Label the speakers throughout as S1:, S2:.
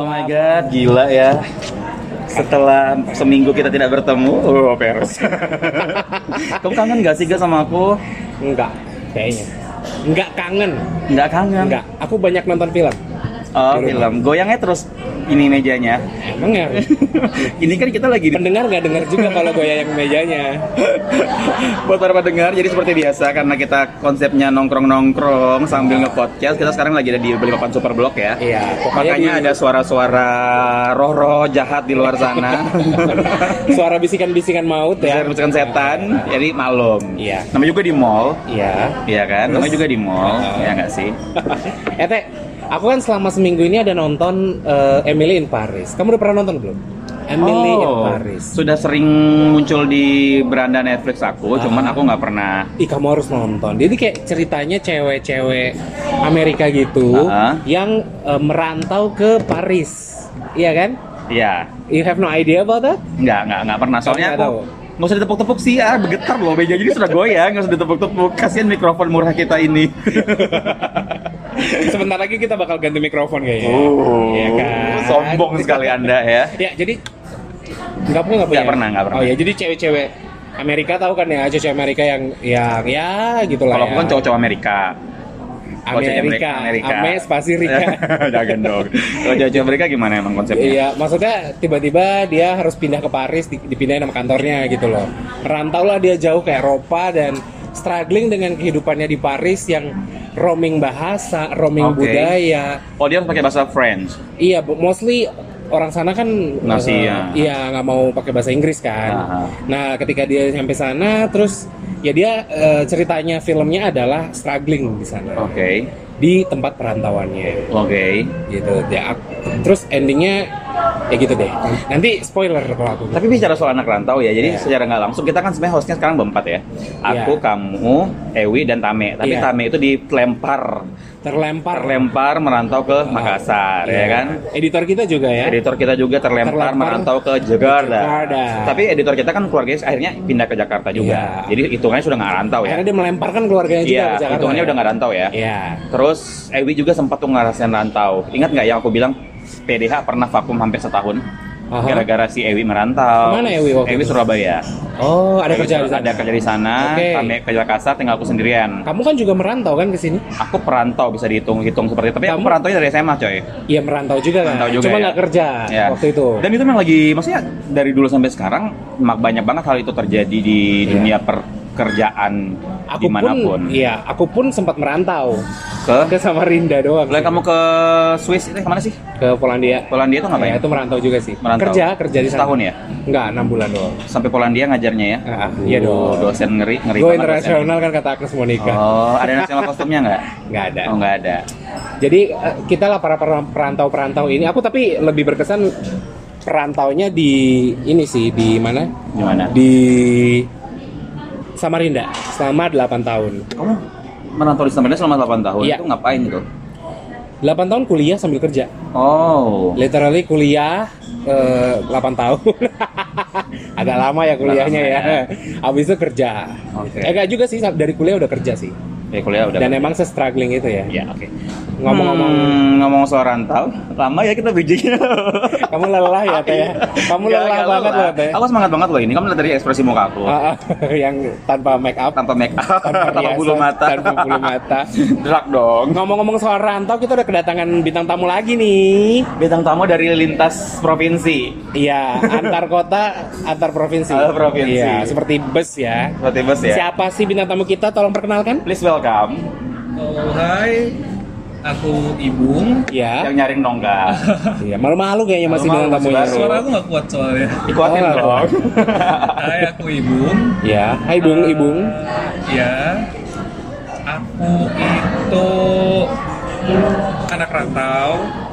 S1: Oh gila ya. Setelah seminggu kita tidak bertemu, oh Peres. Kamu kangen gak sih gak sama aku?
S2: Enggak, kayaknya. Enggak kangen.
S1: Nggak kangen.
S2: Enggak. Aku banyak nonton film.
S1: Oh
S2: Di rumah.
S1: film, goyangnya terus ini mejanya.
S2: Emang ya.
S1: ini kan kita lagi di-
S2: Pendengar nggak dengar juga kalau goyang mejanya.
S1: buat para pendengar. Jadi seperti biasa karena kita konsepnya nongkrong-nongkrong sambil nge-podcast, kita sekarang lagi ada di Balikpapan Super Blok ya.
S2: Iya.
S1: Makanya ada suara-suara roh-roh jahat di luar sana.
S2: suara bisikan-bisikan maut ya.
S1: Bisikan-bisikan setan, jadi malum.
S2: Iya.
S1: Namanya juga di mall.
S2: Iya.
S1: Iya
S2: Terus?
S1: kan,
S2: Oh.
S1: namanya juga di mall,
S2: Heeh.
S1: ya nggak sih?
S2: eh Teh, aku kan selama seminggu ini ada nonton eh, Emily in Paris. Kamu udah pernah nonton belum? Emily in
S1: Oh.
S2: Paris.
S1: sudah sering muncul di beranda Netflix aku,
S2: Ah.
S1: cuman aku nggak pernah.
S2: Ih kamu harus nonton. Jadi kayak ceritanya cewek-cewek Amerika gitu
S1: Ah.
S2: yang eh, merantau ke Paris, iya kan?
S1: Iya,
S2: You have no idea about that?
S1: nggak nggak nggak pernah. Soalnya
S2: nggak
S1: aku
S2: tahu?
S1: nggak usah ditepuk-tepuk sih, ah bergetar loh meja jadi sudah goyang, nggak usah ditepuk-tepuk. Kasihan mikrofon murah kita ini.
S2: Sebentar lagi kita bakal ganti mikrofon kayaknya.
S1: Oh,
S2: Iya kan?
S1: sombong sekali anda ya.
S2: Ya jadi nggak punya nggak punya.
S1: Nggak pernah, nggak pernah.
S2: Oh ya jadi cewek-cewek Amerika tahu kan ya cewek Amerika yang yang ya gitulah.
S1: Kalau aku
S2: ya.
S1: kan cowok-cowok Amerika. Kalau cewek
S2: Amerika,
S1: Amerika.
S2: Ame spasi Rika.
S1: Jangan dong. Kalau cowok-cowok Amerika gimana emang konsepnya?
S2: Iya, maksudnya tiba-tiba dia harus pindah ke Paris, di- dipindahin sama kantornya gitu loh. Rantaulah dia jauh ke Eropa dan struggling dengan kehidupannya di Paris yang roaming bahasa, roaming
S1: Oke.
S2: budaya.
S1: Oh dia harus pakai bahasa French.
S2: Iya, bu- mostly orang sana kan eh,
S1: Masih, ya.
S2: iya nggak mau pakai bahasa Inggris kan.
S1: Aha.
S2: Nah, ketika dia sampai sana, terus ya dia eh, ceritanya filmnya adalah struggling di sana,
S1: Oke,
S2: di tempat perantauannya
S1: oke.
S2: gitu ya ak- terus endingnya ya gitu deh nanti spoiler kalau aku
S1: Tapi bicara soal anak rantau ya, jadi
S2: Iya.
S1: secara nggak langsung kita kan sebenarnya hostnya sekarang berempat ya. Aku, kamu, Ewi dan Tame. Tapi
S2: Iya.
S1: Tame itu dilempar,
S2: terlempar
S1: terlempar merantau ke Makassar ya
S2: Iya.
S1: kan.
S2: editor kita juga ya
S1: Editor kita juga terlempar,
S2: Terlempar
S1: merantau ke Jakarta.
S2: Jakarta.
S1: Tapi editor kita kan keluarganya akhirnya pindah ke Jakarta juga.
S2: Iya.
S1: Jadi hitungannya sudah nggak rantau ya.
S2: akhirnya dia melemparkan keluarganya juga
S1: Iya,
S2: ke Jakarta
S1: hitungannya
S2: ya.
S1: udah nggak rantau ya.
S2: Iya.
S1: Terus Ewi juga sempat tuh ngerasain rantau. Ingat nggak yang aku bilang PDH pernah vakum hampir setahun?
S2: Aha.
S1: Gara-gara si Ewi merantau.
S2: Kemana Ewi waktu itu?
S1: Surabaya.
S2: oh ada
S1: Ewi
S2: kerja di sana
S1: Ada kerja di sana.
S2: Oke.
S1: Kami kerja kasar, tinggal aku sendirian.
S2: kamu kan juga merantau kan ke sini
S1: Aku perantau bisa dihitung-hitung seperti itu. Tapi aku
S2: Kamu-
S1: perantaunya dari SMA coy.
S2: iya merantau juga kan
S1: Merantau juga,
S2: cuma
S1: ya.
S2: nggak kerja
S1: Ya.
S2: Nah, waktu itu
S1: Dan itu memang lagi, maksudnya dari dulu sampai sekarang mak- banyak banget hal itu terjadi di
S2: Iya.
S1: dunia pekerjaan
S2: aku pun
S1: dimanapun.
S2: iya aku pun sempat merantau
S1: Ke,
S2: ke Samarinda doang sih.
S1: Lah, kamu ke Swiss itu kemana sih?
S2: ke Polandia
S1: Polandia itu ngapain?
S2: Ya, itu merantau juga sih
S1: Merantau.
S2: kerja kerja di sana
S1: Setahun ya?
S2: enggak enam bulan doang
S1: sampai Polandia ngajarnya ya?
S2: Ah, iya dong.
S1: Aduh, Dosen ngeri, ngeri.
S2: Gue
S1: banget
S2: internasional kan kata Agnes
S1: dosennya.
S2: Monica.
S1: Oh, ada nasional kostumnya nggak?
S2: Nggak ada.
S1: Oh, nggak ada.
S2: Jadi eh, kita lah para para perantau-perantau ini. Aku tapi lebih berkesan perantaunya di ini sih di mana?
S1: Gimana?
S2: Di Samarinda selama 8 tahun.
S1: Kamu menantau di Samarinda selama 8 tahun.
S2: Iya.
S1: Itu ngapain itu?
S2: 8 tahun kuliah sambil kerja.
S1: Oh.
S2: Literally kuliah eh, 8 tahun. Agak lama ya kuliahnya ya.
S1: Lama
S2: Habis itu kerja.
S1: Oke.
S2: Agak juga sih dari kuliah udah kerja sih.
S1: Ya kuliah udah.
S2: Dan emang se-struggling itu ya.
S1: ya, oke.
S2: Ngomong-ngomong
S1: Hmm, ngomong soal rantau, lama ya kita bijinya.
S2: Kamu lelah ya Teh ya? Kamu
S1: Hmm. Nggak,
S2: lelah
S1: nggak
S2: banget
S1: lelah.
S2: loh Teh
S1: Aku semangat banget loh ini. Kamu lihat dari ekspresi muka aku.
S2: Ah, ah, Yang tanpa make up
S1: Tanpa make up, tanpa,
S2: riasan,
S1: bulu mata.
S2: Tanpa bulu mata
S1: Drak dong.
S2: Ngomong-ngomong soal rantau Kita udah kedatangan bintang tamu lagi nih
S1: Bintang tamu dari lintas provinsi.
S2: Iya Antar kota Antar provinsi
S1: Antar provinsi.
S2: Iya Seperti bus ya
S1: Seperti bus ya.
S2: Siapa sih bintang tamu kita? Tolong perkenalkan
S1: Please welcome
S3: Oh, hai, aku Ibung.
S2: Iya
S1: yang nyaring nongga.
S2: Iya Malu-malu kayaknya masih
S1: Malu-malu,
S2: bintang tamunya
S1: masih ya,
S3: Suara aku nggak kuat soalnya.
S1: Ikutin
S2: Oh,
S1: dong.
S3: Hai, aku Ibung.
S2: Iya Hai Bung
S3: Eh,
S2: Ibung
S3: Ya, aku itu anak rantau.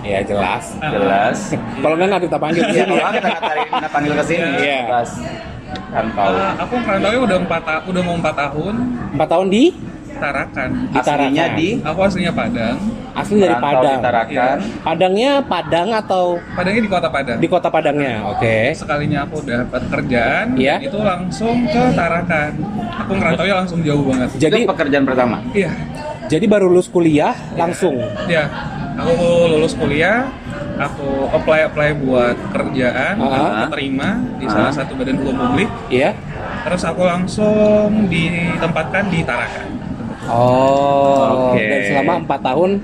S2: Iya jelas
S1: Jelas.
S2: Kalau nggak nggak kita panggil
S1: Iya, kalau nggak kita tarik kita panggil ke sini.
S2: Iya.
S1: Jelas. Kan tahu.
S3: Ah, aku merantaunya udah empat ta- udah mau empat tahun.
S2: 4 tahun di
S3: Tarakan.
S1: Aslinya
S2: Tarakan.
S1: di
S3: Aku aslinya Padang.
S2: Asli dari
S1: Rantau di
S2: Padang
S1: Tarakan.
S2: Padangnya Padang atau
S3: Padangnya di kota Padang.
S2: di kota Padangnya? Oke.
S3: Sekalinya aku dapat kerjaan,
S2: Iya.
S3: itu langsung ke Tarakan. Aku merantaunya langsung jauh banget.
S1: Jadi
S2: Jadi
S1: pekerjaan pertama.
S3: Iya.
S2: jadi baru lulus kuliah langsung.
S3: Ya, aku lulus kuliah, aku apply apply buat kerjaan
S2: Aha.
S3: aku terima
S2: Ah.
S3: di salah
S1: Aha.
S3: satu badan hukum publik
S2: Iya.
S3: terus aku langsung ditempatkan di Tarakan
S2: Oh.
S1: Oke.
S2: Dan selama empat tahun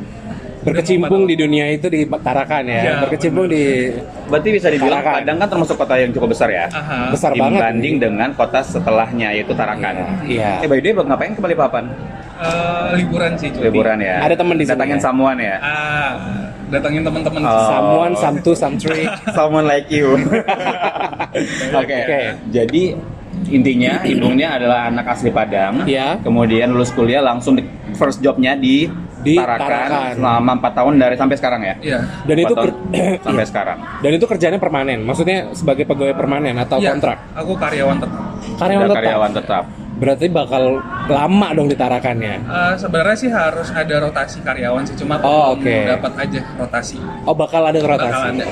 S2: berkecimpung di dunia itu di Tarakan ya.
S3: Iya,
S2: berkecimpung di
S1: Berarti bisa dibilang
S2: Tarakan.
S1: Padang kan termasuk kota yang cukup besar ya.
S3: Aha.
S2: Besar banget.
S1: Dibanding dengan kota setelahnya yaitu Tarakan.
S2: Iya.
S1: Eh by the way, Bang, ngapain ke Balikpapan?
S3: Eh, liburan sih cuti.
S1: Liburan ya.
S2: Ada temen di sana
S1: Datangin
S2: ya?
S1: samuan ya.
S3: Ah, datangin teman-teman
S2: Ah.
S1: Oh.
S2: Someone, some two, some three.
S1: Someone like you. Oke.
S2: Oke.
S1: Jadi intinya ibunya adalah anak asli Padang.
S2: Iya.
S1: Kemudian lulus kuliah langsung di- first jobnya di,
S2: Di
S1: Tarakan,
S2: Tarakan.
S1: selama 4 tahun dari sampai sekarang ya.
S3: Iya.
S2: Dan itu
S1: Empat
S2: ker-
S1: tahun sampai sekarang.
S2: dan itu kerjanya permanen. Maksudnya sebagai pegawai permanen atau
S3: Iya,
S2: kontrak.
S3: Aku karyawan tetap.
S2: Karyawan
S1: Udah
S2: tetap.
S1: karyawan tetap.
S2: Berarti bakal lama dong ya? ditarakannya.
S3: Eh, sebenarnya sih harus ada rotasi karyawan sih, cuma
S2: Oh,
S3: belum
S2: oke.
S3: dapat aja rotasi.
S2: Oh bakal ada rotasi.
S3: Bakal ada.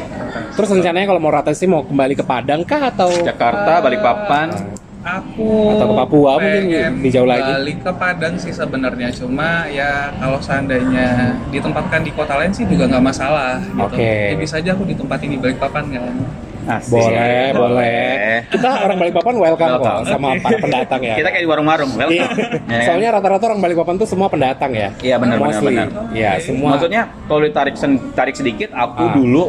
S2: Terus rencananya kalau mau rotasi mau kembali ke Padang kah atau
S1: Jakarta, Balikpapan.
S3: Aku
S2: Atau ke Papua mungkin
S3: pengen
S2: lebih jauh lagi.
S3: Balik ke Padang sih sebenarnya, cuma ya kalau seandainya ditempatkan di kota lain sih juga nggak masalah. Gitu.
S2: Oke.
S3: Ya, bisa aja aku ditempatin di Balikpapan kan.
S1: Asik.
S2: Boleh, boleh. Kita orang Balikpapan welcome kok
S1: Welcome.
S2: sama para pendatang ya.
S1: Kita kayak di warung-warung, welcome.
S2: Iya.
S1: Ya kan?
S2: Soalnya rata-rata orang Balikpapan tuh semua pendatang ya.
S1: Iya, benar, benar,
S2: Mostly.
S1: benar.
S2: Iya, semua.
S1: Maksudnya kalau ditarik sen- tarik sedikit, aku
S2: Ah.
S1: dulu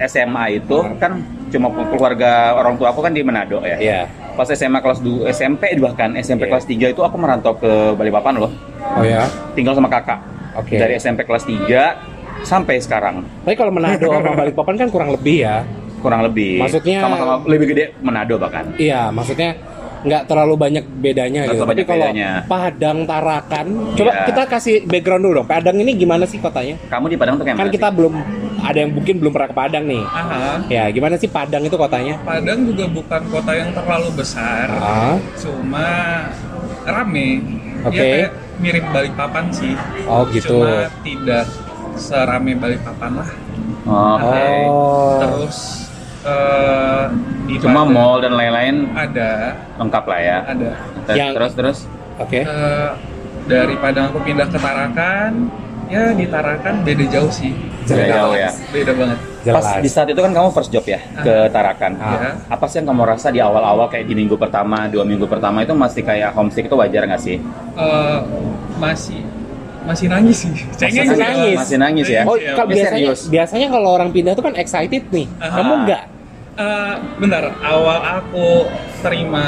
S1: SMA itu
S2: Ah.
S1: kan cuma keluarga orang tua aku kan di Manado ya.
S2: Iya.
S1: Pas SMA kelas 2, SMP bahkan SMP
S2: Iya.
S1: kelas 3 itu aku merantau ke Balikpapan loh.
S2: Oh ya.
S1: Tinggal sama kakak.
S2: Oke.
S1: Dari SMP kelas 3 sampai sekarang
S2: Tapi kalau Manado sama Balikpapan kan kurang lebih ya.
S1: kurang lebih.
S2: Maksudnya-
S1: sama-sama lebih gede Manado bahkan.
S2: Iya, maksudnya nggak terlalu banyak bedanya gitu.
S1: Nggak terlalu
S2: Tapi
S1: banyak
S2: kalau
S1: bedanya.
S2: Padang Tarakan, coba
S1: Iya.
S2: kita kasih background dulu dong. Padang ini gimana sih kotanya?
S1: Kamu di Padang tuh kayak
S2: Kan
S1: mana
S2: kita belum ada yang mungkin belum pernah ke Padang nih.
S3: Aha.
S2: Ya, gimana sih Padang itu kotanya?
S3: Padang juga bukan kota yang terlalu besar,
S2: Ah,
S3: cuma rame.
S2: Oke.
S3: Ya, kayak mirip Balikpapan sih.
S2: oh gitu.
S3: Cuma tidak serame Balikpapan lah.
S1: sih?
S2: Ah.
S1: Oh, Oke.
S2: Oh.
S3: Terus eh, di
S1: Cuma
S3: Padang
S1: mall dan lain-lain
S3: ada
S1: lengkap lah ya.
S3: ada.
S1: Ter-
S2: Yang-
S1: Terus terus
S2: Oke.
S3: Eh, dari Padang aku pindah ke Tarakan, ya di Tarakan beda jauh sih.
S1: udah
S2: Jelas.
S1: jauh ya.
S3: Beda banget.
S2: Jelas.
S1: Pas di saat itu kan kamu first job ya ke Tarakan. Ya.
S3: Ah.
S1: Apa sih yang kamu rasa di awal-awal kayak di minggu pertama, dua minggu pertama itu masih kayak homesick itu wajar nggak sih?
S3: Eh, masih masih nangis sih. Cengeng
S1: Masih
S3: sih.
S2: nangis?
S1: Masih nangis ya?
S2: Oh,
S3: Iya,
S2: kalau
S1: iya,
S2: biasanya
S1: serius.
S2: biasanya kalau orang pindah tuh kan excited nih.
S3: Ah.
S2: Kamu nggak?
S3: Eh, bentar, awal aku terima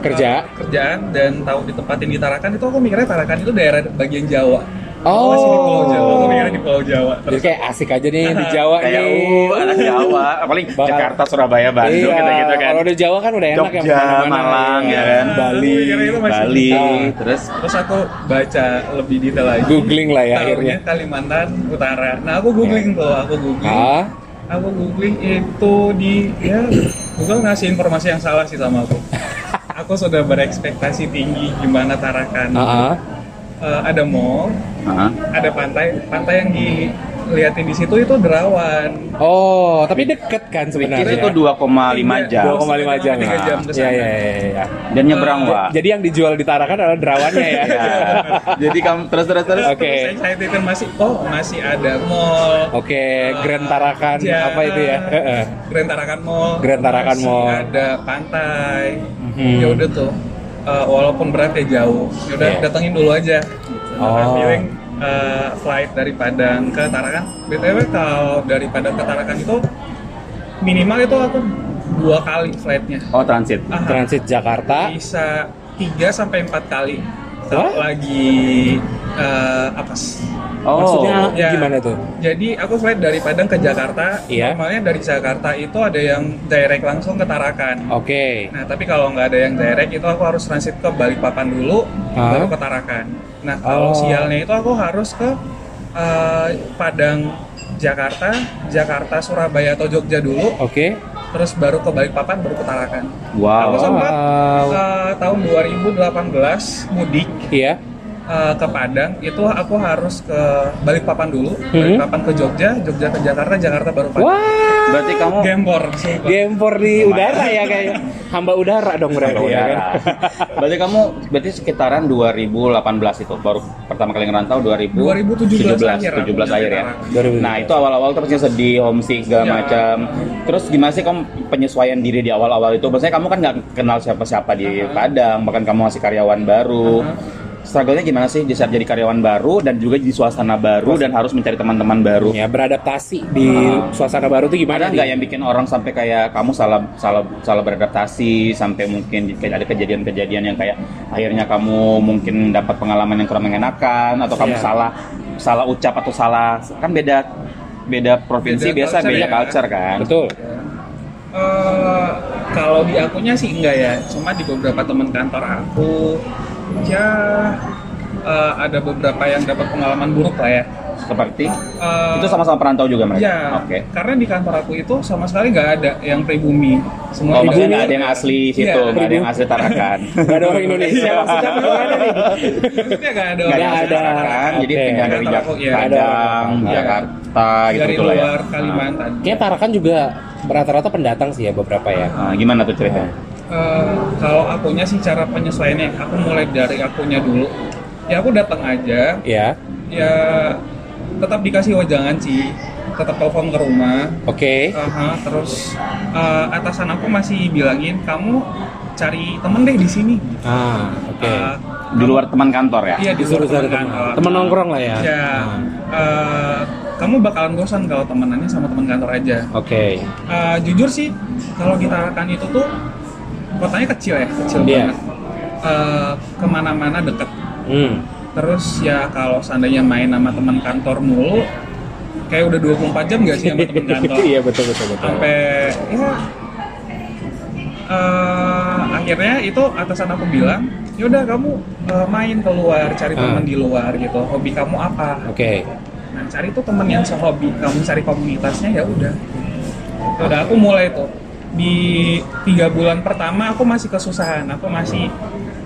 S2: Kerja?
S3: eh, kerjaan dan tahu ditempatin di Tarakan itu aku mikirnya Tarakan itu daerah bagian Jawa. Aku Masih di Pulau Jawa, aku mikirnya di Pulau Jawa.
S2: Oh. Jadi kayak asik aja nih di Jawa
S1: Kayak
S2: nih.
S1: uh, anak Jawa, paling
S2: Bakal-
S1: Jakarta, Surabaya, Bandung
S2: Iya,
S1: gitu-gitu kan.
S2: Kalau di Jawa kan udah enak ya
S1: Jogja,
S2: kemana-mana. iya.
S1: Malang ya kan,
S2: Bali.
S3: Iya, Kira-kira itu masih-
S1: Bali,
S2: Ah.
S1: terus
S3: Terus aku baca lebih detail lagi.
S2: Googling lah ya akhirnya. Ya.
S3: Tahunya Kalimantan Utara. Nah aku googling tuh, aku googling.
S2: Ah,
S3: Aku googling itu di ya Google ngasih informasi yang salah sih sama aku. aku sudah berekspektasi tinggi gimana Tarakan.
S2: ah, ah.
S3: Eh, ada mall,
S1: Heeh.
S3: ada pantai. Pantai yang dilihatin di situ itu derawan.
S2: Oh, tapi deket kan sebenarnya. Iya,
S1: itu 2,5 jam
S2: 2,5 jam.
S3: 3 jam
S2: ah.
S3: ke
S2: Iya,
S3: sana.
S2: iya, iya, iya.
S1: dan nyebrang wah.
S2: Jadi yang dijual di Tarakan adalah derawannya ya.
S1: Ya. Jadi kamu terus terus terus.
S2: Oke. Oh,
S3: Terus excited kan masih oh masih ada mall.
S2: Oke, Eh, Grand Tarakan
S1: Iya.
S3: Ya.
S2: apa itu ya? Heeh.
S3: Grand Tarakan Mall.
S2: Grand Tarakan
S3: Masih
S2: Mall.
S3: Ada pantai.
S2: Mhm.
S3: Ya udah tuh. eh, walaupun berat ya jauh. Ya udah
S2: Iya.
S3: datengin dulu aja. Gitu. Nah,
S2: Oh.
S3: feeling eh, flight dari Padang ke Tarakan. BTW kalau dari Padang ke Tarakan itu minimal itu aku dua kali flightnya.
S1: Oh transit.
S3: Aha.
S2: Transit Jakarta.
S3: bisa 3 sampai 4 kali
S2: Wah?
S3: lagi eh, apa sih?
S1: Oh.
S2: Maksudnya
S3: Ya.
S2: gimana tuh?
S3: Jadi aku flight dari Padang ke Jakarta.
S2: Iya.
S3: Normalnya dari Jakarta itu ada yang direct langsung ke
S2: Oh.
S3: Tarakan.
S2: Oke.
S3: Nah, tapi kalau nggak ada yang direct itu aku harus transit ke Balikpapan dulu,
S2: Ah.
S3: baru ke Tarakan. Nah, kalau
S2: Oh.
S3: sialnya itu aku harus ke eh, Padang Jakarta, Jakarta Surabaya atau Jogja dulu,
S2: Oke.
S3: terus baru ke Balikpapan, baru ke Tarakan.
S1: Wow.
S3: Aku sempat
S2: Oh, Wow.
S3: eh, tahun 2018 mudik
S2: Iya.
S3: eh, ke Padang itu aku harus ke Balikpapan dulu,
S1: Hmm.
S2: Mhm.
S3: Balikpapan ke Jogja, Jogja ke Jakarta, Jakarta baru Padang.
S2: Wah,
S1: Berarti kamu
S3: Gembor. sumpah.
S2: gempor di udara ya kayaknya. Hamba udara dong berarti
S1: Sampai
S2: ya
S1: udara.
S2: kan.
S1: Berarti kamu berarti sekitaran 2018 itu baru pertama kali ngerantau 2000
S3: 2017 akhir,
S1: 17 akhir ya.
S2: 2017.
S1: Nah, itu awal-awal terusnya sedih, homesick segala
S3: Ya.
S1: macam. Terus gimana sih kamu penyesuaian diri di awal-awal itu? Maksudnya kamu kan nggak kenal siapa-siapa di Padang, bahkan kamu masih karyawan baru. Struggle-nya gimana sih di saat jadi karyawan baru dan juga di suasana baru dan harus mencari teman-teman baru?
S2: Ya beradaptasi di suasana baru tuh gimana?
S1: ada nggak
S3: iya.
S1: ya?
S2: Di-
S1: yang bikin orang sampai kayak kamu salah salah salah beradaptasi sampai mungkin kayak ada kejadian-kejadian yang kayak akhirnya kamu mungkin dapat pengalaman yang kurang mengenakan atau kamu
S2: Iya.
S1: salah salah ucap atau salah kan beda beda provinsi
S3: Beda
S1: biasa
S3: culture
S1: beda
S3: ya.
S1: culture kan
S2: Betul.
S3: Eh, kalau di akunya sih enggak ya, cuma di beberapa teman kantor aku ya eh, ada beberapa yang dapat pengalaman buruk lah ya.
S1: seperti
S3: Eh,
S1: itu sama-sama perantau juga mereka
S3: Ya,
S1: oke
S3: karena di kantor aku itu sama sekali nggak ada yang pribumi.
S1: Oh,
S3: Semua di
S1: maksudnya
S3: daerah-
S1: nggak ada yang asli situ,
S3: Iya.
S1: nggak ada yang asli Tarakan.
S2: Gak ada orang Indonesia
S1: Iya,
S2: maksudnya gimana nih?
S3: Maksudnya nggak ada.
S1: Nggak ada yang
S3: orang
S1: asli
S2: ada.
S1: Tarakan, jadi
S2: Oke.
S1: pindah dari Jak-
S3: Iya.
S1: Padang,
S2: Iya.
S1: Jakarta, gitu
S3: dari
S1: gitu lah ya.
S3: luar Kalimantan.
S2: Kayaknya Tarakan kan juga rata-rata pendatang sih ya beberapa ya.
S1: Nah, nah, gimana tuh ceritanya?
S3: Eh, kalau akunya sih cara penyesuaiannya, aku mulai dari akunya dulu. Ya aku datang aja,
S2: Ya,
S3: ya tetap dikasih wejangan sih, tetap telepon ke rumah.
S2: oke.
S3: Aha, terus eh, atasan aku masih bilangin kamu cari temen deh di sini.
S2: Ah, oke.
S3: Eh,
S1: Di luar teman kantor ya?
S3: Iya di luar
S2: Disuruh cari
S3: teman
S2: teman.
S3: kantor.
S2: Teman nongkrong lah ya.
S3: Ya,
S2: Ah,
S3: eh, kamu bakalan bosan kalau temenannya sama teman kantor aja.
S2: Oke.
S3: Eh, jujur sih, kalau kita akan itu tuh kotanya kecil ya, kecil
S2: Iya.
S3: banget. Eh, kemana-mana deket.
S2: Hmm.
S3: Terus ya kalau seandainya main sama teman kantor mulu, kayak udah 24 jam gak sih sama teman kantor?
S2: Iya betul betul betul.
S3: Sampai ya eh, akhirnya itu atasan aku bilang, yaudah kamu eh, main keluar, cari
S2: Ah.
S3: teman di luar gitu. Hobi kamu apa?
S2: Oke.
S3: Nah, cari tuh temen yang sehobi, kamu cari komunitasnya ya udah. Ya Udah aku mulai tuh. Di tiga bulan pertama aku masih kesusahan, aku masih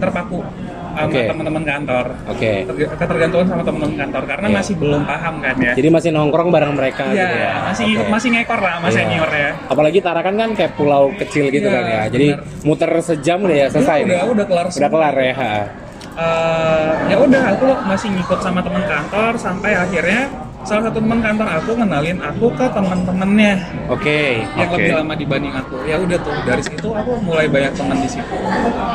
S3: terpaku sama
S2: Oke.
S3: teman-teman kantor.
S2: Oke.
S3: Terg- Ketergantungan sama teman-teman kantor karena
S2: Iya.
S3: masih belum paham kan ya.
S2: Jadi masih nongkrong bareng mereka
S3: Iya,
S2: gitu ya.
S3: masih
S2: Oke.
S3: masih ngekor lah sama
S2: Iya.
S3: senior ya.
S2: Apalagi Tarakan kan kayak pulau kecil gitu
S3: Iya,
S2: kan ya. Jadi
S3: benar. Iya,
S2: muter sejam udah ya selesai.
S3: udah,
S2: nih.
S3: udah kelar
S2: udah
S3: semua.
S2: kelar ya. ha.
S3: Eh, ya udah aku masih ngikut sama teman kantor sampai akhirnya salah satu teman kantor aku ngenalin aku ke teman-temannya
S2: Oke.
S3: yang
S1: Oke.
S3: lebih lama dibanding aku ya udah tuh dari situ aku mulai banyak teman di situ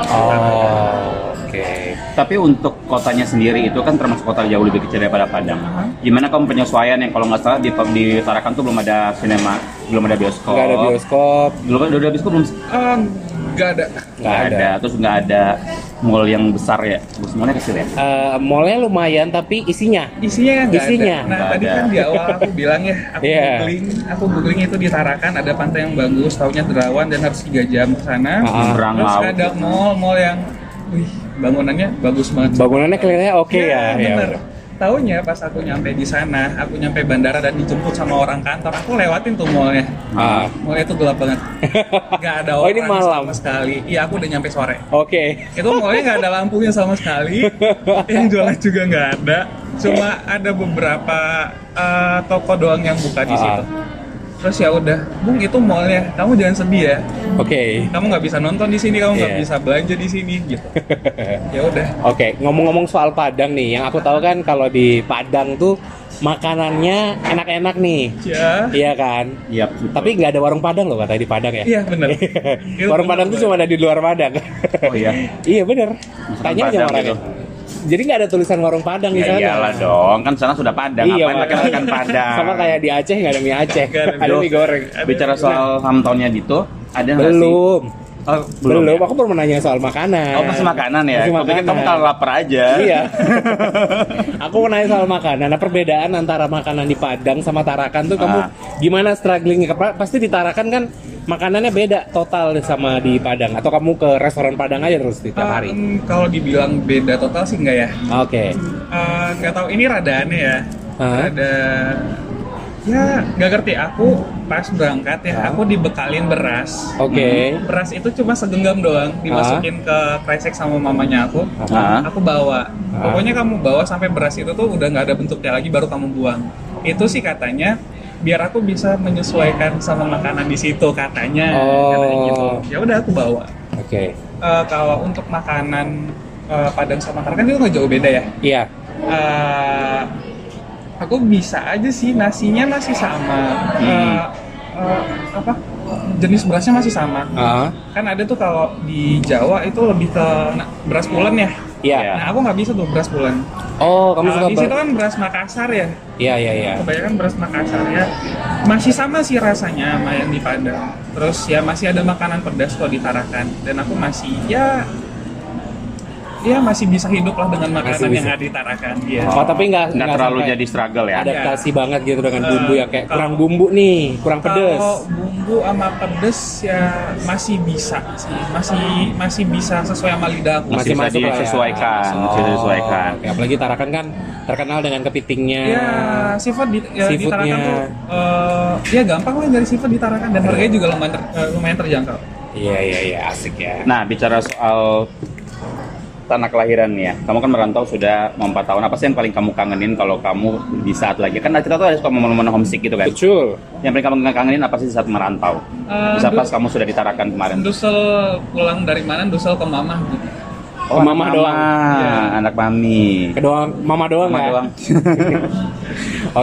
S2: Oh, oke.
S1: Tapi untuk kotanya sendiri itu kan termasuk kota jauh lebih kecil daripada Padang.
S3: Aha.
S1: Gimana kamu penyesuaian yang kalau nggak salah di, di Tarakan tuh belum ada sinema, belum ada bioskop.
S2: Nggak ada bioskop,
S1: Belum ada, udah ada bioskop belum?
S3: Eh, nggak ada
S2: nggak ada.
S1: Terus nggak ada mall yang besar ya. Mallnya kecil ya.
S2: Eh, mallnya lumayan tapi isinya.
S3: isinya kan nggak
S2: Isinya.
S3: ada nah
S1: Nggak
S3: tadi
S1: ada.
S3: kan di awal aku bilang ya aku
S2: Iya.
S3: googling aku googling itu di Tarakan ada pantai yang bagus taunya derawan dan harus 3 jam ke
S2: Ah.
S3: sana
S1: Nyebrang
S3: terus
S1: laut.
S3: ada mall mall yang wih bangunannya bagus banget
S2: Bangunannya kelihatannya oke ya. ya.
S3: Iya, bener Taunya pas aku nyampe di sana, aku nyampe bandara dan dijemput sama orang kantor, aku lewatin tuh mallnya.
S2: Ah.
S3: Mallnya tuh gelap banget, nggak ada
S2: Oh,
S3: orang
S2: ini malam.
S3: sama sekali. Iya, aku udah nyampe sore.
S2: Oke.
S3: itu mallnya nggak ada lampunya sama sekali yang jualan juga nggak ada cuma ada beberapa eh, toko doang yang buka
S2: Ah.
S3: di situ terus ya udah bung itu mallnya kamu jangan sedih ya
S2: Oke.
S3: kamu nggak bisa nonton di sini kamu nggak
S2: Iya.
S3: bisa belanja di sini gitu ya udah
S2: Oke, ngomong-ngomong soal Padang nih, yang aku tahu kan kalau di Padang tuh makanannya enak-enak nih,
S3: ya
S2: iya kan?
S1: Iya.
S2: Tapi nggak ada warung Padang loh katanya di Padang ya.
S3: iya benar
S2: warung Padang tuh cuma ada di luar Padang.
S1: Oh iya.
S2: iya bener. Tanya aja
S1: Padang
S2: orangnya.
S1: gitu.
S2: ya. Jadi nggak ada tulisan warung Padang di
S1: Ya
S2: sana.
S1: iyalah dong, kan sana sudah Padang,
S2: Iya,
S1: ngapain pakai
S2: makanya.
S1: makan Padang?
S2: Sama kayak di Aceh nggak ada mie Aceh,
S3: Nggak ada
S2: ada
S1: Duh,
S2: mie goreng.
S1: Bicara soal ham tahunnya gitu, ada Iya, nggak sih?
S2: Belum.
S1: Oh,
S2: Belum,
S1: belum. ya?
S2: aku baru menanya soal makanan.
S1: Oh, pasti makanan ya.
S2: Pasti
S1: Aku pikir kamu kalau lapar aja.
S2: Iya. aku mau nanya soal makanan. Nah, perbedaan antara makanan di Padang sama Tarakan tuh kamu
S1: Ah.
S2: gimana strugglingnya? Pa- Pasti di Tarakan kan makanannya beda total sama di Padang. Atau kamu ke restoran Padang aja terus tiap
S3: Ah,
S2: hari?
S3: em, kalau dibilang beda total sih
S1: Ah.
S3: nggak ya
S2: Oke.
S3: Eh, nggak tahu ini rada aneh ya
S2: Hah?
S3: ada ya nggak ngerti aku pas berangkat ya aku dibekalin beras Hmm,
S2: Oke.
S3: beras itu cuma segenggam doang dimasukin ke kresek sama mamanya aku
S1: Ah.
S3: aku bawa pokoknya kamu bawa sampai beras itu tuh udah nggak ada bentuknya lagi baru kamu buang itu sih katanya biar aku bisa menyesuaikan sama makanan di situ katanya katanya gitu
S2: Oh.
S3: ya udah aku bawa
S2: Oke.
S3: Eh, kalau untuk makanan eh, Padang sama Karena kan itu nggak jauh beda ya
S2: Iya.
S3: Eh, aku bisa aja sih nasinya masih sama Eh,
S1: Hmm.
S3: eh, apa jenis berasnya masih sama
S2: Ah.
S3: kan ada tuh kalau di Jawa itu lebih ke na- beras pulen ya
S2: Iya.
S1: Iya. Ah,
S3: nah aku nggak bisa tuh beras pulen
S2: Oh, kamu
S3: Kalau
S2: suka
S3: di
S2: ber-
S3: situ kan beras Makassar ya
S2: Iya, iya, iya.
S3: kebanyakan beras Makassar ya masih sama sih rasanya sama yang di Padang terus ya masih ada makanan pedas kalau ditarakan dan aku masih ya ya masih bisa hidup lah dengan
S2: Masih
S3: makanan
S2: bisa.
S3: yang ada di Tarakan ya.
S2: Oh, tapi nggak
S1: nggak terlalu
S2: sampai
S1: jadi struggle ya.
S2: adaptasi banget gitu dengan
S3: Eh,
S2: bumbu yang kayak
S3: kalau-
S2: kurang bumbu nih, kurang pedes.
S3: Kalau bumbu sama pedes ya masih bisa sih, masih masih bisa sesuai sama lidah aku.
S1: Masih bisa
S2: masuk lah ya.
S1: disesuaikan, masih disesuaikan. Iya.
S2: oke. Apalagi Tarakan kan terkenal dengan kepitingnya.
S3: Ya, seafood di, ya, di
S2: Seafoodnya.
S3: Tarakan tuh eh, ya gampang lah dari seafood di Tarakan dan harganya juga lumayan, ter- eh, lumayan terjangkau.
S2: Iya, iya, iya, asik ya.
S1: Nah, bicara soal tanah kelahiran nih ya. Kamu kan merantau sudah mau 4 tahun. Apa sih yang paling kamu kangenin kalau kamu di saat lagi? Kan kita tuh ada suka momen-momen homesick gitu kan.
S2: Betul.
S1: Yang paling kamu kangenin apa sih di saat merantau?
S3: Eh,
S1: Bisa
S3: du-
S1: pas kamu sudah ditarakan kemarin.
S3: Dusel pulang dari mana? Dusel ke Mamah gitu.
S2: Ke mama
S1: anak
S2: doang.
S1: Iya. Anak mami.
S2: Kedua mama doang ya?
S1: Mama
S2: nggak?
S1: doang.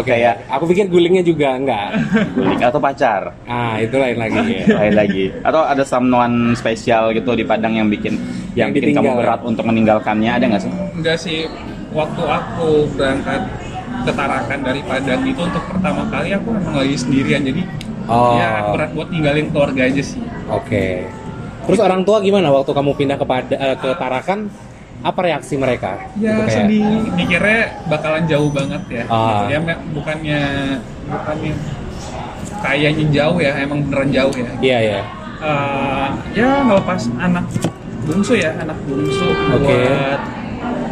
S2: Oke ya. Aku pikir gulingnya juga enggak.
S1: Guling atau pacar?
S2: Ah, itu lain lagi.
S1: Lain lagi. Atau ada someone spesial gitu di Padang yang bikin yang,
S2: Yang
S1: bikin kamu
S2: ditinggal.
S1: berat untuk meninggalkannya ada nggak sih?
S3: Enggak sih, waktu aku berangkat ke Tarakan dari Padang itu untuk pertama kali aku emang lagi sendirian jadi
S2: Oh.
S1: Iya,
S3: ya berat buat ninggalin keluarga aja sih.
S2: Oke. Terus orang tua gimana waktu kamu pindah ke Pada- eh, ke Tarakan? Apa reaksi mereka?
S3: Ya
S2: Gitu kayak,
S3: sedih, mikirnya bakalan jauh banget ya.
S2: Ah.
S3: Ya me- bukannya bukannya kayaknya jauh ya, emang beneran jauh ya.
S2: Iya, iya.
S3: Eh, ya ngelepas anak bungsu ya, anak bungsu
S2: Oke.
S3: buat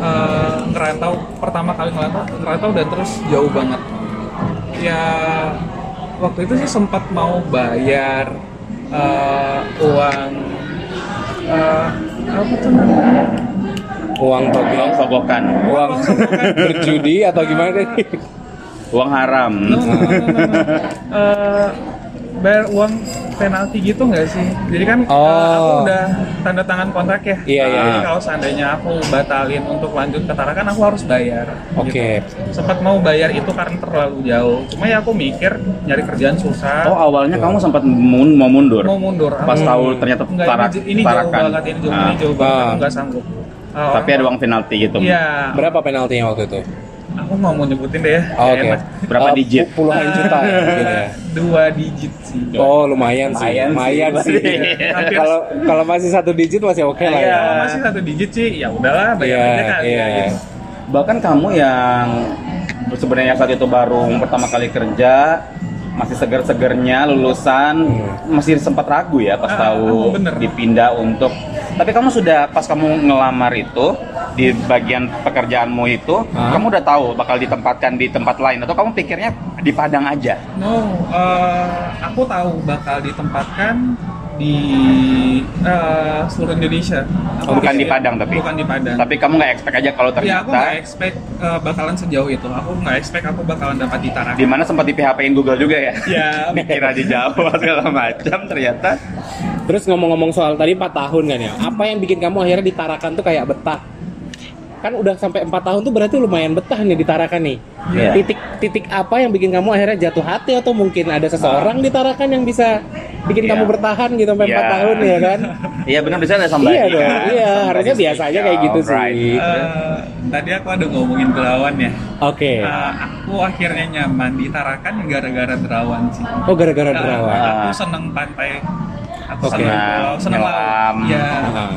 S3: eh, ngerantau pertama kali ngerantau, ngerantau dan terus jauh banget. Ya waktu itu sih sempat mau bayar eh, uang eh, apa tuh namanya?
S2: Uang
S1: Uang
S2: togel,
S1: sogokan,
S2: uang berjudi atau gimana deh?
S1: uang haram.
S3: no, no, no, no, no. Eh, bayar uang penalti gitu nggak sih? Jadi kan eh, aku
S2: Oh.
S3: udah tanda tangan kontrak ya.
S2: Iya, iya,
S3: Jadi
S1: iya.
S3: kalau seandainya aku batalin untuk lanjut ke Tarakan, aku harus bayar. gitu.
S2: Oke.
S3: Sempat mau bayar itu karena terlalu jauh. Cuma ya aku mikir nyari kerjaan susah.
S1: Oh awalnya kamu sempat mun- mau mundur.
S3: mau mundur.
S1: Pas
S3: Aku-
S1: tahu ternyata
S3: Nggak,
S1: tarak,
S3: ini, ini jauh
S1: tarakan.
S3: banget, ini jauh,
S1: Ah,
S3: ini jauh banget. Aku
S2: Ah.
S3: nggak sanggup. Eh, orang-
S1: tapi ada uang penalti gitu.
S3: Iya.
S2: Berapa penaltinya waktu itu?
S3: Aku nggak mau nyebutin deh ya.
S2: Oh, Oke.
S3: Enak.
S1: Berapa
S2: Eh, pu-
S1: digit?
S2: Puluhan juta ya, mungkin ya.
S3: Dua digit sih.
S2: Oh, lumayan sih.
S1: Lumayan
S2: Lumayan
S1: sih.
S2: sih.
S3: Hampir-
S2: Kalau kalau masih satu digit masih oke lah ya.
S3: Iya, masih satu digit sih. Ya udahlah, bayar
S2: Iya,
S3: aja kali
S2: iya.
S3: ya. Gitu.
S1: Bahkan kamu yang sebenarnya saat itu baru pertama kali kerja, masih seger-segernya lulusan, masih sempat ragu ya pas
S3: Ah,
S1: tahu
S3: ah, bener.
S1: dipindah untuk. Tapi kamu sudah pas kamu ngelamar itu di bagian pekerjaanmu itu,
S2: Ah.
S1: kamu udah tahu bakal ditempatkan di tempat lain atau kamu pikirnya di Padang aja?
S3: No, eh, aku tahu bakal ditempatkan di eh, seluruh Indonesia. Aku
S1: Oh, Bukan
S3: pikir-
S1: di Padang tapi?
S3: Bukan di Padang.
S1: Tapi kamu nggak expect aja kalau
S3: ya aku
S1: ternyata
S3: nggak expect eh, bakalan sejauh itu. Aku nggak expect aku bakalan dapat di Tarakan.
S1: di mana sempat di PHP-in Google juga ya?
S3: Ya,
S1: mikir aja jauh segala macam ternyata
S2: Terus ngomong-ngomong soal tadi 4 tahun kan ya. Apa yang bikin kamu akhirnya ditarakan tuh kayak betah? Kan udah sampai 4 tahun tuh berarti lumayan betah nih ditarakan nih.
S1: Iya.
S2: Titik titik apa yang bikin kamu akhirnya jatuh hati atau mungkin ada
S3: Ah.
S2: seseorang ditarakan yang bisa bikin
S1: Iya.
S2: kamu bertahan gitu sampai
S1: Iya.
S2: 4 tahun ya kan?
S1: Iya benar bisa ada sambal
S2: Iya dong, iya, harusnya biasa aja kayak gitu sih.
S3: Eh, tadi aku ada ngomongin Derawan ya.
S2: Oke.
S1: Iya.
S3: Eh, aku akhirnya nyaman di Tarakan gara-gara Derawan sih.
S2: Oh gara-gara
S3: Nah,
S2: derawan.
S3: Aku seneng pantai. Aku
S2: Oke.
S3: seneng pulau, seneng
S1: Nyelam.
S3: laut. Ya,
S2: Aha.
S1: Ah.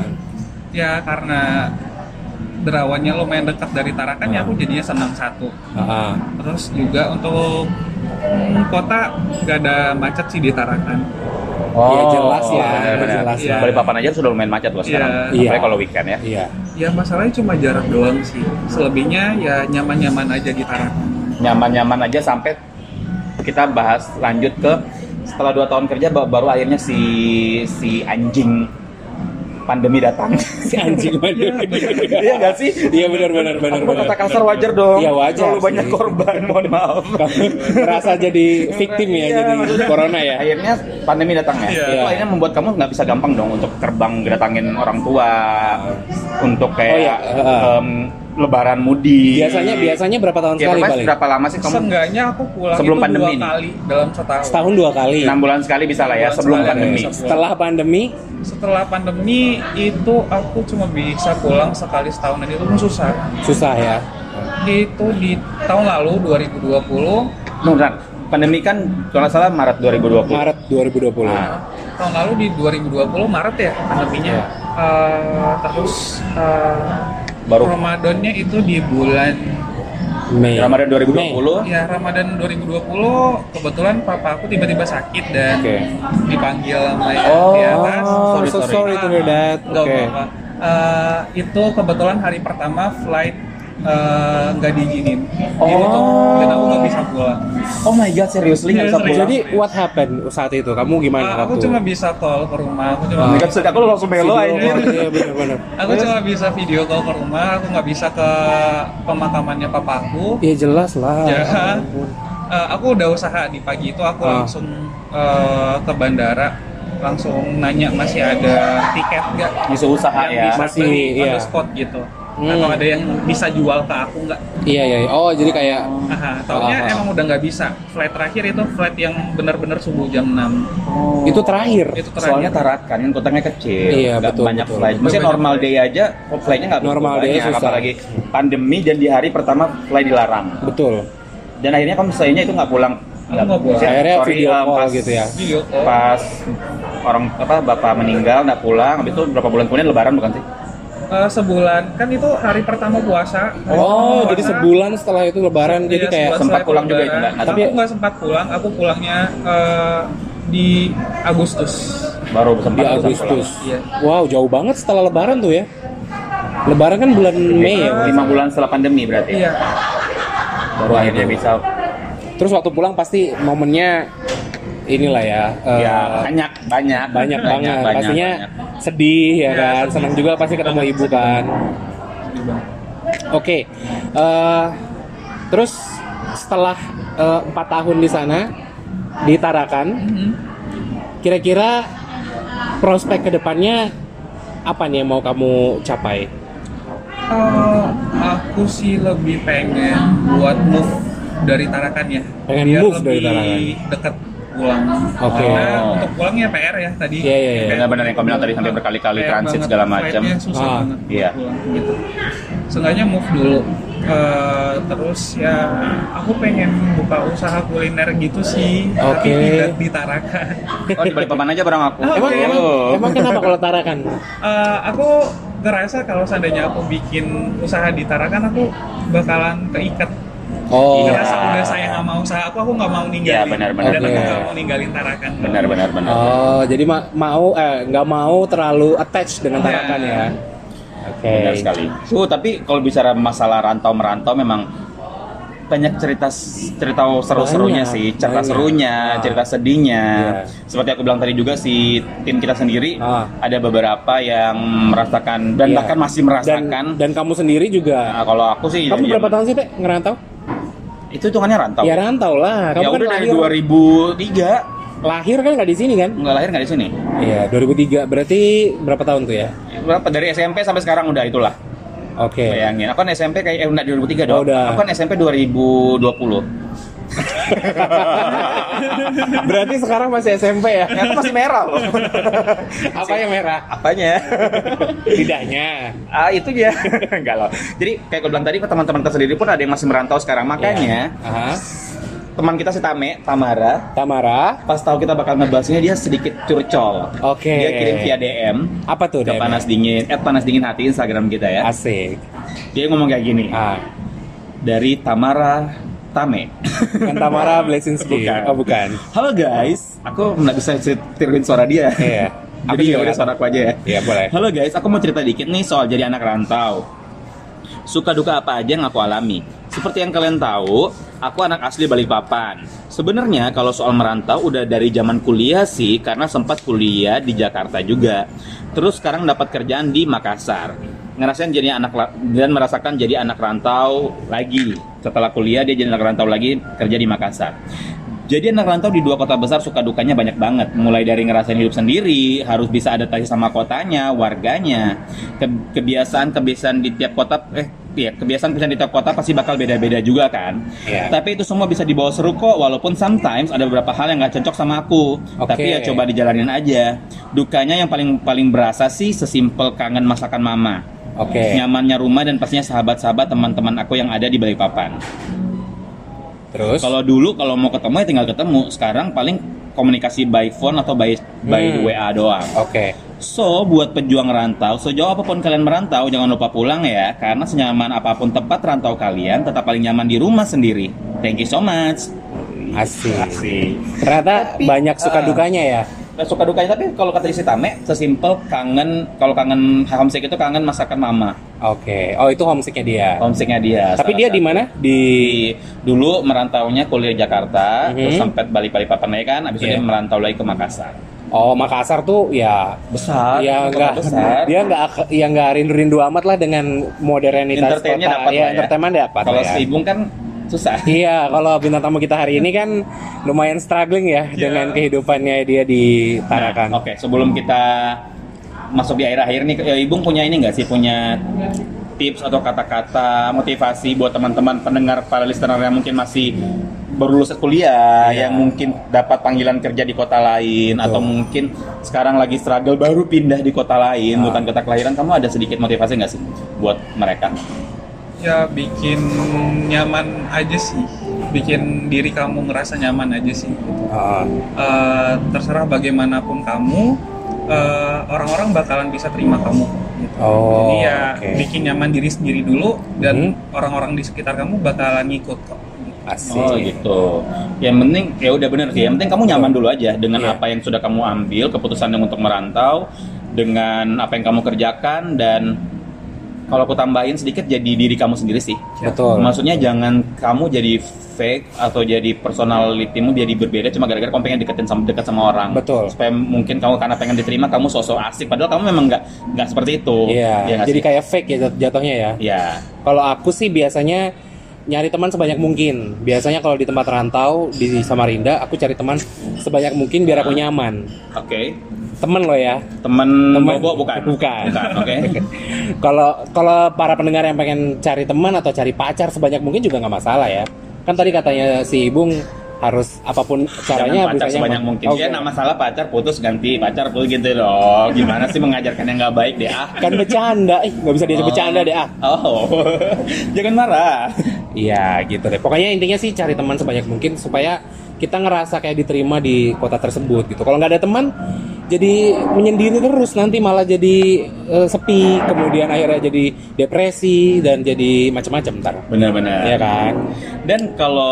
S3: ya karena derawannya lumayan dekat dari Tarakan ya aku jadinya seneng satu.
S2: Aha.
S3: Terus juga untuk hmm, kota nggak ada macet sih di Tarakan.
S2: Iya,
S1: Oh,
S2: jelas ya, jelas
S3: ya.
S1: papan aja sudah lumayan macet loh sekarang.
S2: Iya.
S1: Apalagi kalau weekend ya.
S2: Iya.
S3: Ya masalahnya cuma jarak doang sih. Selebihnya ya nyaman-nyaman aja di Tarakan.
S1: Nyaman-nyaman aja sampai kita bahas lanjut ke setelah dua tahun kerja ba- baru akhirnya si si anjing pandemi datang.
S2: si anjing mana
S1: Iya nggak sih?
S2: iya benar benar benar
S1: Apa
S2: benar
S1: kata kasar wajar dong.
S2: Iya, wajar
S1: Terlalu
S2: sih.
S1: banyak korban, mohon maaf.
S2: merasa jadi victim ya
S1: Iya,
S2: jadi
S1: maksudnya-
S2: corona ya
S1: Akhirnya pandemi datang ya.
S3: Iya.
S1: Itu akhirnya membuat kamu nggak bisa gampang dong untuk terbang datangin orang tua, untuk kayak
S2: Oh, iya. Heeh.
S1: em, Lebaran mudik.
S2: biasanya biasanya berapa tahun
S1: Ya,
S2: sekali
S1: berapa-
S2: paling
S1: berapa lama sih kamu?
S3: Seenggaknya aku pulang
S1: Sebelum
S3: itu
S1: pandemi
S3: dua
S1: ini.
S3: kali dalam setahun.
S2: setahun dua kali
S1: Enam bulan sekali bisa lah ya
S3: Bulan
S1: sebelum
S3: sekali,
S1: pandemi.
S3: bisa.
S2: setelah pandemi
S3: Setelah pandemi itu aku cuma bisa pulang sekali setahun dan itu pun susah.
S2: susah ya
S3: Itu di tahun lalu 2020,
S1: Nuh, bentar. pandemi kan kalau nggak salah Maret 2020.
S2: Maret 2020
S1: Nah,
S3: tahun lalu di 2020 Maret ya pandeminya.
S2: Iya.
S3: Eh, terus eh,
S1: Baru.
S3: Ramadannya itu di bulan
S2: Mei
S1: Ramadan 2020.
S3: ya Ramadan 2020 kebetulan papa aku tiba-tiba sakit dan
S2: Oke.
S3: dipanggil sama yang
S2: oh
S3: di atas.
S1: Sorry,
S2: so
S1: sorry.
S2: sorry to hear that
S3: Nggak
S2: oke
S3: apa-apa. Eh, itu kebetulan hari pertama flight eh, nggak diizinin. Jadi tuh, dan aku nggak bisa pulang.
S1: Oh my god, seriously nggak bisa
S3: Serius,
S1: pulang.
S2: jadi what happened saat itu kamu
S3: Eh,
S2: gimana
S3: aku
S2: waktu
S3: cuma bisa call ke rumah. Aku cuma
S1: Oh my god, sedih. aku langsung melo
S2: Video
S1: anjir.
S2: call, iya, benar-benar.
S3: Aku cuma bisa video call ke rumah. Aku nggak bisa ke pemakamannya papaku.
S2: ya jelas lah
S3: Ya.
S2: ampun.
S3: Eh, aku udah usaha di pagi itu aku
S2: Ah.
S3: langsung eh, ke bandara langsung nanya masih ada tiket nggak
S1: Bisa usaha ya.
S3: yang bisa
S2: Masih,
S3: beli on
S2: Ah, iya.
S3: the spot gitu
S2: Hmm.
S3: atau ada yang bisa jual ke aku nggak
S2: Iya iya. iya. Oh jadi kayak
S3: Aha, taunya
S2: Ah.
S3: emang udah nggak bisa. Flight terakhir itu flight yang benar-benar subuh jam 6.
S1: Oh.
S2: itu terakhir.
S3: Itu terakhir.
S1: Soalnya Tarat kan yang kotanya kecil,
S2: Iya,
S1: nggak
S2: betul,
S1: banyak
S2: betul.
S1: flight. Maksudnya
S3: Banyak
S1: normal day aja, flightnya nggak begitu
S2: Normal day
S1: banyak.
S2: susah.
S1: Apalagi pandemi dan di hari pertama flight dilarang.
S2: Betul.
S1: Dan akhirnya kamu sayangnya itu nggak pulang.
S3: Nggak pulang.
S1: maksudnya,
S2: Akhirnya
S1: sorry,
S2: video
S1: eh,
S2: call
S1: pas-
S2: gitu ya.
S3: video call.
S1: Pas orang apa bapak meninggal nggak pulang, habis itu berapa bulan kemudian Lebaran bukan sih?
S3: Eh, sebulan kan itu hari pertama puasa. Hari
S2: Oh,
S3: pertama
S2: jadi
S3: puasa,
S2: sebulan setelah itu Lebaran
S3: iya,
S2: jadi kayak
S3: sebulan
S1: sempat
S3: setelah
S1: pulang juga
S3: lebaran.
S1: itu nggak- nggak
S3: Aku
S2: sempat.
S3: nggak sempat pulang. Aku pulangnya eh, di Agustus.
S1: Baru sempat
S2: di
S1: bisa
S2: Agustus.
S3: Iya.
S2: Wow jauh banget setelah Lebaran tuh ya. Lebaran kan bulan Mei ya.
S1: pulang. Lima bulan setelah pandemi berarti. ya?
S3: Iya.
S1: Baru akhirnya bisa.
S2: Terus waktu pulang pasti momennya inilah ya. eh,
S3: Iya.
S1: ya banyak banyak
S2: banyak banget. Pastinya sedih ya
S3: Iya,
S2: kan.
S3: sedih. Iya,
S2: Senang juga pasti ketemu ibu kan.
S3: sedih banget.
S2: Oke. eh, terus setelah eh, empat tahun di sana di Tarakan
S3: Mhm.
S2: kira-kira prospek kedepannya apa nih yang mau kamu capai?
S3: Eh, aku sih lebih pengen buat move dari Tarakan ya.
S2: Pengen
S3: Biar
S2: move dari
S3: lebih
S2: Tarakan.
S3: Deket pulang.
S2: Oke.
S3: Karena
S1: Oh.
S3: untuk pulang ya PR ya tadi.
S2: Iya, iya, iya.
S1: Benar-benar yang kau bilang tadi sampai berkali-kali
S3: PR
S1: transit
S3: banget.
S1: segala macam.
S3: Flightnya susah
S2: Ah,
S3: banget. buat
S1: iya.
S3: pulang Gitu. Seenggaknya move dulu. Eh, terus ya aku pengen buka usaha kuliner gitu sih. Tapi
S2: Oke.
S3: tidak di Tarakan.
S1: oh di Balikpapan aja barang aku
S2: Emang,
S1: Oh.
S2: emang, emang kenapa kalau kan? Tarakan?
S3: Eh, aku ngerasa kalau seandainya aku bikin usaha di Tarakan aku bakalan keikat
S2: Oh,
S1: Iya.
S3: ngerasa udah sayang sama usaha aku aku nggak mau
S1: Iya,
S3: ninggalin
S1: benar-benar.
S3: dan aku
S2: Oke.
S3: nggak mau ninggalin Tarakan
S1: benar benar benar
S2: oh jadi ma- mau eh nggak mau terlalu attached dengan
S3: Iya.
S2: Tarakan ya? Oke.
S1: benar sekali uh tapi kalau bicara masalah rantau merantau memang banyak cerita cerita seru-serunya
S2: Banyak,
S1: sih cerita
S2: banyak.
S1: serunya
S2: Ah.
S1: cerita sedihnya
S2: Iya.
S1: seperti aku bilang tadi juga si tim kita sendiri
S2: Ah.
S1: ada beberapa yang merasakan dan
S2: Iya.
S1: bahkan masih
S2: Dan,
S1: merasakan
S2: dan kamu sendiri juga.
S1: Nah, kalau aku sih
S2: kamu
S1: ya-
S2: berapa tahun sih teh ngerantau?
S1: itu hitungannya rantau
S2: Ya rantau lah. Kamu
S1: ya
S2: kan
S1: udah dari
S2: lahir,
S1: 2003
S2: lahir kan nggak di sini kan?
S1: nggak lahir nggak di sini
S2: Iya 2003 berarti berapa tahun tuh ya?
S1: berapa dari SMP sampai sekarang udah itulah
S2: Oke.
S1: bayangin aku kan SMP kayak eh enggak 2003
S2: Iya. Oh,
S1: dong
S2: udah.
S1: aku kan SMP 2020
S2: Berarti sekarang masih SMP ya?
S1: ya aku masih merah loh
S2: Apa yang merah?
S1: apanya
S2: Tidaknya.
S1: ah itu dia enggak loh jadi kayak gue bilang tadi teman-teman kita sendiri pun ada yang masih merantau sekarang makanya
S2: Iya. Aha.
S1: teman kita si Tame Tamara
S2: Tamara.
S1: pas tahu kita bakal ngebahasnya dia sedikit curcol
S2: Oke.
S1: dia kirim via DM
S2: Apa tuh?
S1: ke
S2: Dem?
S1: panas dingin eh panas dingin hati Instagram kita ya
S2: Asik.
S1: dia ngomong kayak gini
S2: Ah.
S1: dari Tamara Tame
S2: Bukan Kan Tamara Bleszinski.
S1: Bukan.
S2: Oh, bukan.
S1: Halo guys, aku nggak bisa cetirin suara dia.
S2: Iya.
S1: Aku
S2: Jadi
S1: juga
S2: ya.
S1: udah suara aku aja ya.
S2: Iya, boleh.
S1: Halo guys, aku mau cerita dikit nih soal jadi anak rantau. Suka duka apa aja yang aku alami. Seperti yang kalian tahu, aku anak asli Balikpapan. Sebenarnya kalau soal merantau udah dari zaman kuliah sih, karena sempat kuliah di Jakarta juga. Terus sekarang dapat kerjaan di Makassar. Ngerasain jadi anak la- dan merasakan jadi anak rantau lagi. Setelah kuliah dia jadi anak rantau lagi kerja di Makassar. Jadi anak rantau di dua kota besar suka dukanya banyak banget. Mulai dari ngerasain hidup sendiri, harus bisa adaptasi sama kotanya, warganya. Ke- Kebiasaan-kebiasaan di tiap kota, eh ya, kebiasaan-kebiasaan di tiap kota pasti bakal beda-beda juga kan.
S2: Iya.
S1: Tapi itu semua bisa dibawa seru kok, walaupun sometimes ada beberapa hal yang nggak cocok sama aku.
S2: Oke.
S1: Tapi ya coba dijalanin aja. Dukanya yang paling paling berasa sih sesimpel kangen masakan mama.
S2: Oke.
S1: Nyamannya rumah dan pastinya sahabat-sahabat teman-teman aku yang ada di Balikpapan.
S2: Terus?
S1: Kalau dulu kalau mau ketemu ya tinggal ketemu. Sekarang paling komunikasi by phone atau by by
S2: Hmm.
S1: WA doang.
S2: Oke.
S1: So, buat pejuang rantau, sejauh apapun kalian merantau, jangan lupa pulang ya, karena senyaman apapun tempat rantau kalian, tetap paling nyaman di rumah sendiri. Thank you so much.
S2: Asik.
S1: Asik.
S2: Ternyata
S1: Tapi,
S2: banyak suka
S1: ah.
S2: dukanya ya.
S1: Nah, suka dukanya tapi kalau kata istri Tame, sesimpel kangen kalau kangen homesick itu kangen masakan mama,
S2: Oke. Oh, itu homesicknya dia.
S1: homesicknya dia.
S2: Tapi
S1: salah
S2: dia
S1: satu.
S2: di mana? Di
S1: Di- dulu merantaunya kuliah di Jakarta,
S2: Mhm.
S1: terus sampai balik-balik papan kan, abis itu
S2: Iya.
S1: dia merantau lagi ke Makassar.
S2: Oh, Makassar tuh ya
S1: besar,
S2: ya
S1: kota
S2: enggak
S1: besar.
S2: dia enggak ak- ya enggak rindu-rindu amat lah dengan modernitas
S1: Entertainnya
S2: kota.
S1: dapat
S2: ya,
S1: lah ya.
S2: entertainment dapat
S1: Kalau
S2: lah ya.
S1: Sibung kan susah.
S2: Iya, kalau bintang tamu kita hari ini kan lumayan struggling ya
S3: Iya. Nah,
S2: dengan kehidupannya dia di Tarakan.
S1: Nah, Oke, sebelum kita masuk di akhir-akhir nih, ya, Ibung punya ini nggak sih punya tips atau kata-kata motivasi buat teman-teman pendengar para listener yang mungkin masih baru lulus kuliah,
S2: Iya.
S1: yang mungkin dapat panggilan kerja di kota lain,
S2: Betul.
S1: atau mungkin sekarang lagi struggle baru pindah di kota lain,
S2: Ah.
S1: bukan kota kelahiran, kamu ada sedikit motivasi nggak sih buat mereka?
S3: ya bikin nyaman aja sih bikin diri kamu ngerasa nyaman aja sih
S2: Ah,
S3: Eh, terserah bagaimanapun kamu eh, orang-orang bakalan bisa terima kamu gitu.
S2: Oh,
S3: jadi ya
S2: oke.
S3: bikin nyaman diri sendiri dulu dan
S2: Hmm.
S3: orang-orang di sekitar kamu bakalan ngikut kok gitu.
S2: asik.
S1: Oh gitu. Yang penting ya udah bener sih. Yang penting kamu nyaman dulu aja dengan
S2: Iya.
S1: apa yang sudah kamu ambil, keputusan yang untuk merantau, dengan apa yang kamu kerjakan dan kalau aku tambahin sedikit jadi diri kamu sendiri sih.
S2: Betul.
S1: Maksudnya jangan kamu jadi fake atau jadi personalitimu jadi berbeda cuma gara-gara kamu pengen deketin sama dekat sama orang.
S2: Betul.
S1: Supaya mungkin kamu karena pengen diterima kamu sosok asik padahal kamu memang nggak nggak seperti itu.
S2: Iya,
S1: Iya nggak
S2: jadi
S1: sih?
S2: kayak fake ya jat- jatuhnya ya.
S1: Iya.
S2: Kalau aku sih biasanya nyari teman sebanyak mungkin. Biasanya kalau di tempat rantau di Samarinda, aku cari teman sebanyak mungkin biar aku nyaman.
S1: Oke.
S2: Temen lo ya.
S1: Temen,
S2: Temen-
S1: bobo bukan?
S2: Bukan.
S1: Oke.
S2: Kalau kalau para pendengar yang pengen cari teman atau cari pacar sebanyak mungkin juga nggak masalah ya. Kan tadi katanya si Ibung harus apapun caranya
S1: Jangan pacar
S2: bisa
S1: sebanyak
S2: nyaman.
S1: mungkin.
S2: Oke.
S1: Ya, nama salah pacar putus ganti pacar putus gitu loh. Gimana sih mengajarkan yang nggak baik deh ah.
S2: Kan bercanda, ih nggak bisa diajak
S1: Oh.
S2: bercanda deh ah.
S1: Oh, jangan marah.
S2: Iya gitu deh. Pokoknya intinya sih cari teman sebanyak mungkin supaya kita ngerasa kayak diterima di kota tersebut gitu. Kalau nggak ada teman, jadi menyendiri terus nanti malah jadi eh, sepi, kemudian akhirnya jadi depresi dan jadi macam-macam ntar.
S1: Benar-benar.
S2: Iya kan?
S1: Dan kalau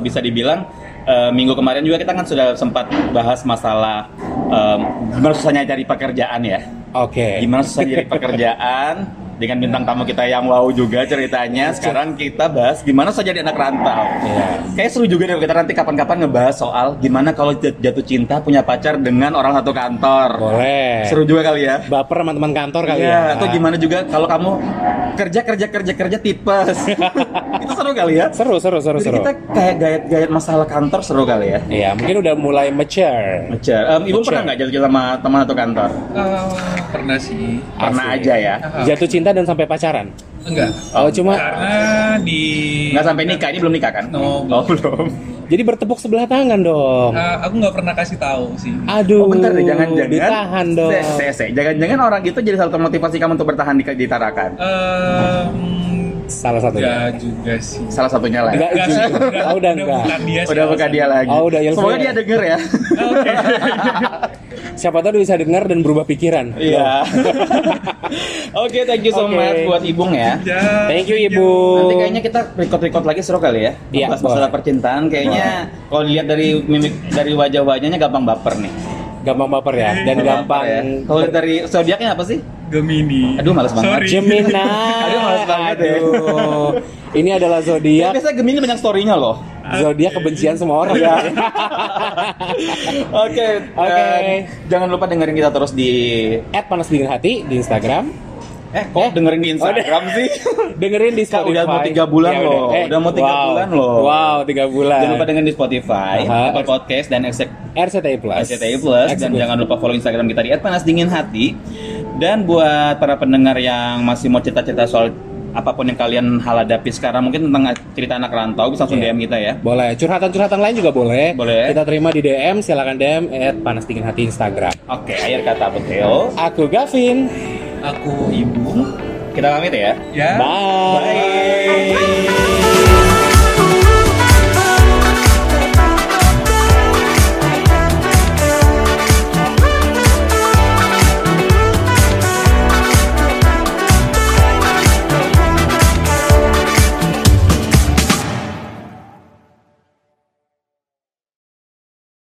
S1: bisa dibilang eh, minggu kemarin juga kita kan sudah sempat bahas masalah em, gimana susahnya cari pekerjaan ya.
S2: Oke.
S1: Gimana susahnya cari pekerjaan dengan bintang tamu kita yang wow juga ceritanya. Sekarang kita bahas gimana susah jadi anak rantau.
S2: Iya.
S1: Kayak seru juga deh kita nanti kapan-kapan ngebahas soal gimana kalau jat- jatuh cinta punya pacar dengan orang satu kantor.
S2: Boleh.
S1: Seru juga kali ya.
S2: Baper sama teman kantor kali ya.
S1: Iya, atau gimana juga kalau kamu kerja kerja kerja kerja tipes. Itu seru kali ya.
S2: Seru, seru, seru,
S1: Jadi
S2: seru.
S1: kita kayak gayet-gayet masalah kantor seru kali ya.
S2: Iya, mungkin udah mulai mature.
S1: Macer. Em, ibu
S2: Macer.
S1: pernah nggak jatuh cinta sama teman atau kantor?
S3: Eh, pernah sih
S1: Pernah
S2: Asik.
S1: aja ya.
S2: Jatuh cinta dan sampai pacaran.
S3: enggak
S2: Oh, cuma
S3: karena di
S1: Nggak sampai nikah, ini belum nikah kan?
S3: No.
S1: Oh, belum.
S2: jadi bertepuk sebelah tangan dong.
S3: Eh, aku nggak pernah kasih tahu sih
S2: Aduh,
S1: Oh, bentar deh, jangan-jangan.
S2: ditahan dong.
S1: Se- se- se. Jangan-jangan orang itu jadi salah satu motivasi kamu untuk bertahan di, di Tarakan.
S3: Em,
S2: Salah satunya.
S3: Enggak juga sih.
S1: Salah satunya lah.
S2: Enggak.
S1: ya.
S3: Enggak
S2: juga.
S3: sih, udah,
S2: Oh, udah enggak.
S3: bukan dia Iya sih
S1: Udah bukan
S3: alasannya.
S1: dia lagi.
S2: Oh, udah, ilfil
S1: Semoga
S2: ya.
S1: dia denger ya.
S3: Ah, Oke.
S2: Siapa tahu bisa dengar dan berubah pikiran.
S1: Iya. Oke, thank you so
S2: Oke.
S1: much buat Ibung ya.
S3: Ya,
S2: Thank you Ibu.
S1: Nanti kayaknya kita record-record lagi seru kali ya.
S2: Iya,
S1: Bahas masalah
S2: boleh.
S1: percintaan kayaknya kalau dilihat dari mimik dari wajah-wajahnya gampang baper nih.
S2: gampang baper ya dan gampang
S1: ya. Kalau dari zodiaknya apa sih?
S3: Gemini.
S1: Aduh, males banget.
S3: Sorry.
S2: Gemini.
S1: Aduh, males banget. banget ya.
S2: Aduh. Ini adalah
S1: Tapi
S2: zodiak
S1: Kan biasanya Gemini banyak story-nya loh.
S2: zodiak kebencian semua orang ya.
S1: Ya. Oke,
S2: Oke.
S1: eh, jangan lupa dengerin kita terus di
S2: At panas dingin hati di Instagram.
S1: eh kok
S2: Eh. Oh,
S1: dengerin di Instagram sih?
S2: Dengerin di
S1: Kak,
S2: Spotify.
S1: udah mau tiga bulan
S2: Ya,
S1: loh. Udah mau tiga
S2: wow.
S1: bulan loh.
S2: Wow, tiga bulan.
S1: jangan lupa dengerin di Spotify,
S2: Aha.
S1: Apple Podcast dan Exact
S2: RCTI Plus.
S1: SCTI Plus dan
S2: Executive.
S1: jangan lupa follow Instagram kita di @panasdinginhati. Dan buat para pendengar yang masih mau cerita-cerita soal apapun yang kalian hal hadapi sekarang mungkin tentang cerita anak rantau bisa langsung
S2: Iya.
S1: DM kita ya.
S2: Boleh. Curhatan-curhatan lain juga boleh.
S1: Boleh.
S2: Kita terima di DM. Silakan DM at panas dingin hati Instagram.
S1: Oke, akhir kata Beteo.
S2: Aku Gavin.
S3: Aku ibu.
S1: Kita pamit ya.
S3: Ya.
S2: Bye.
S1: Bye.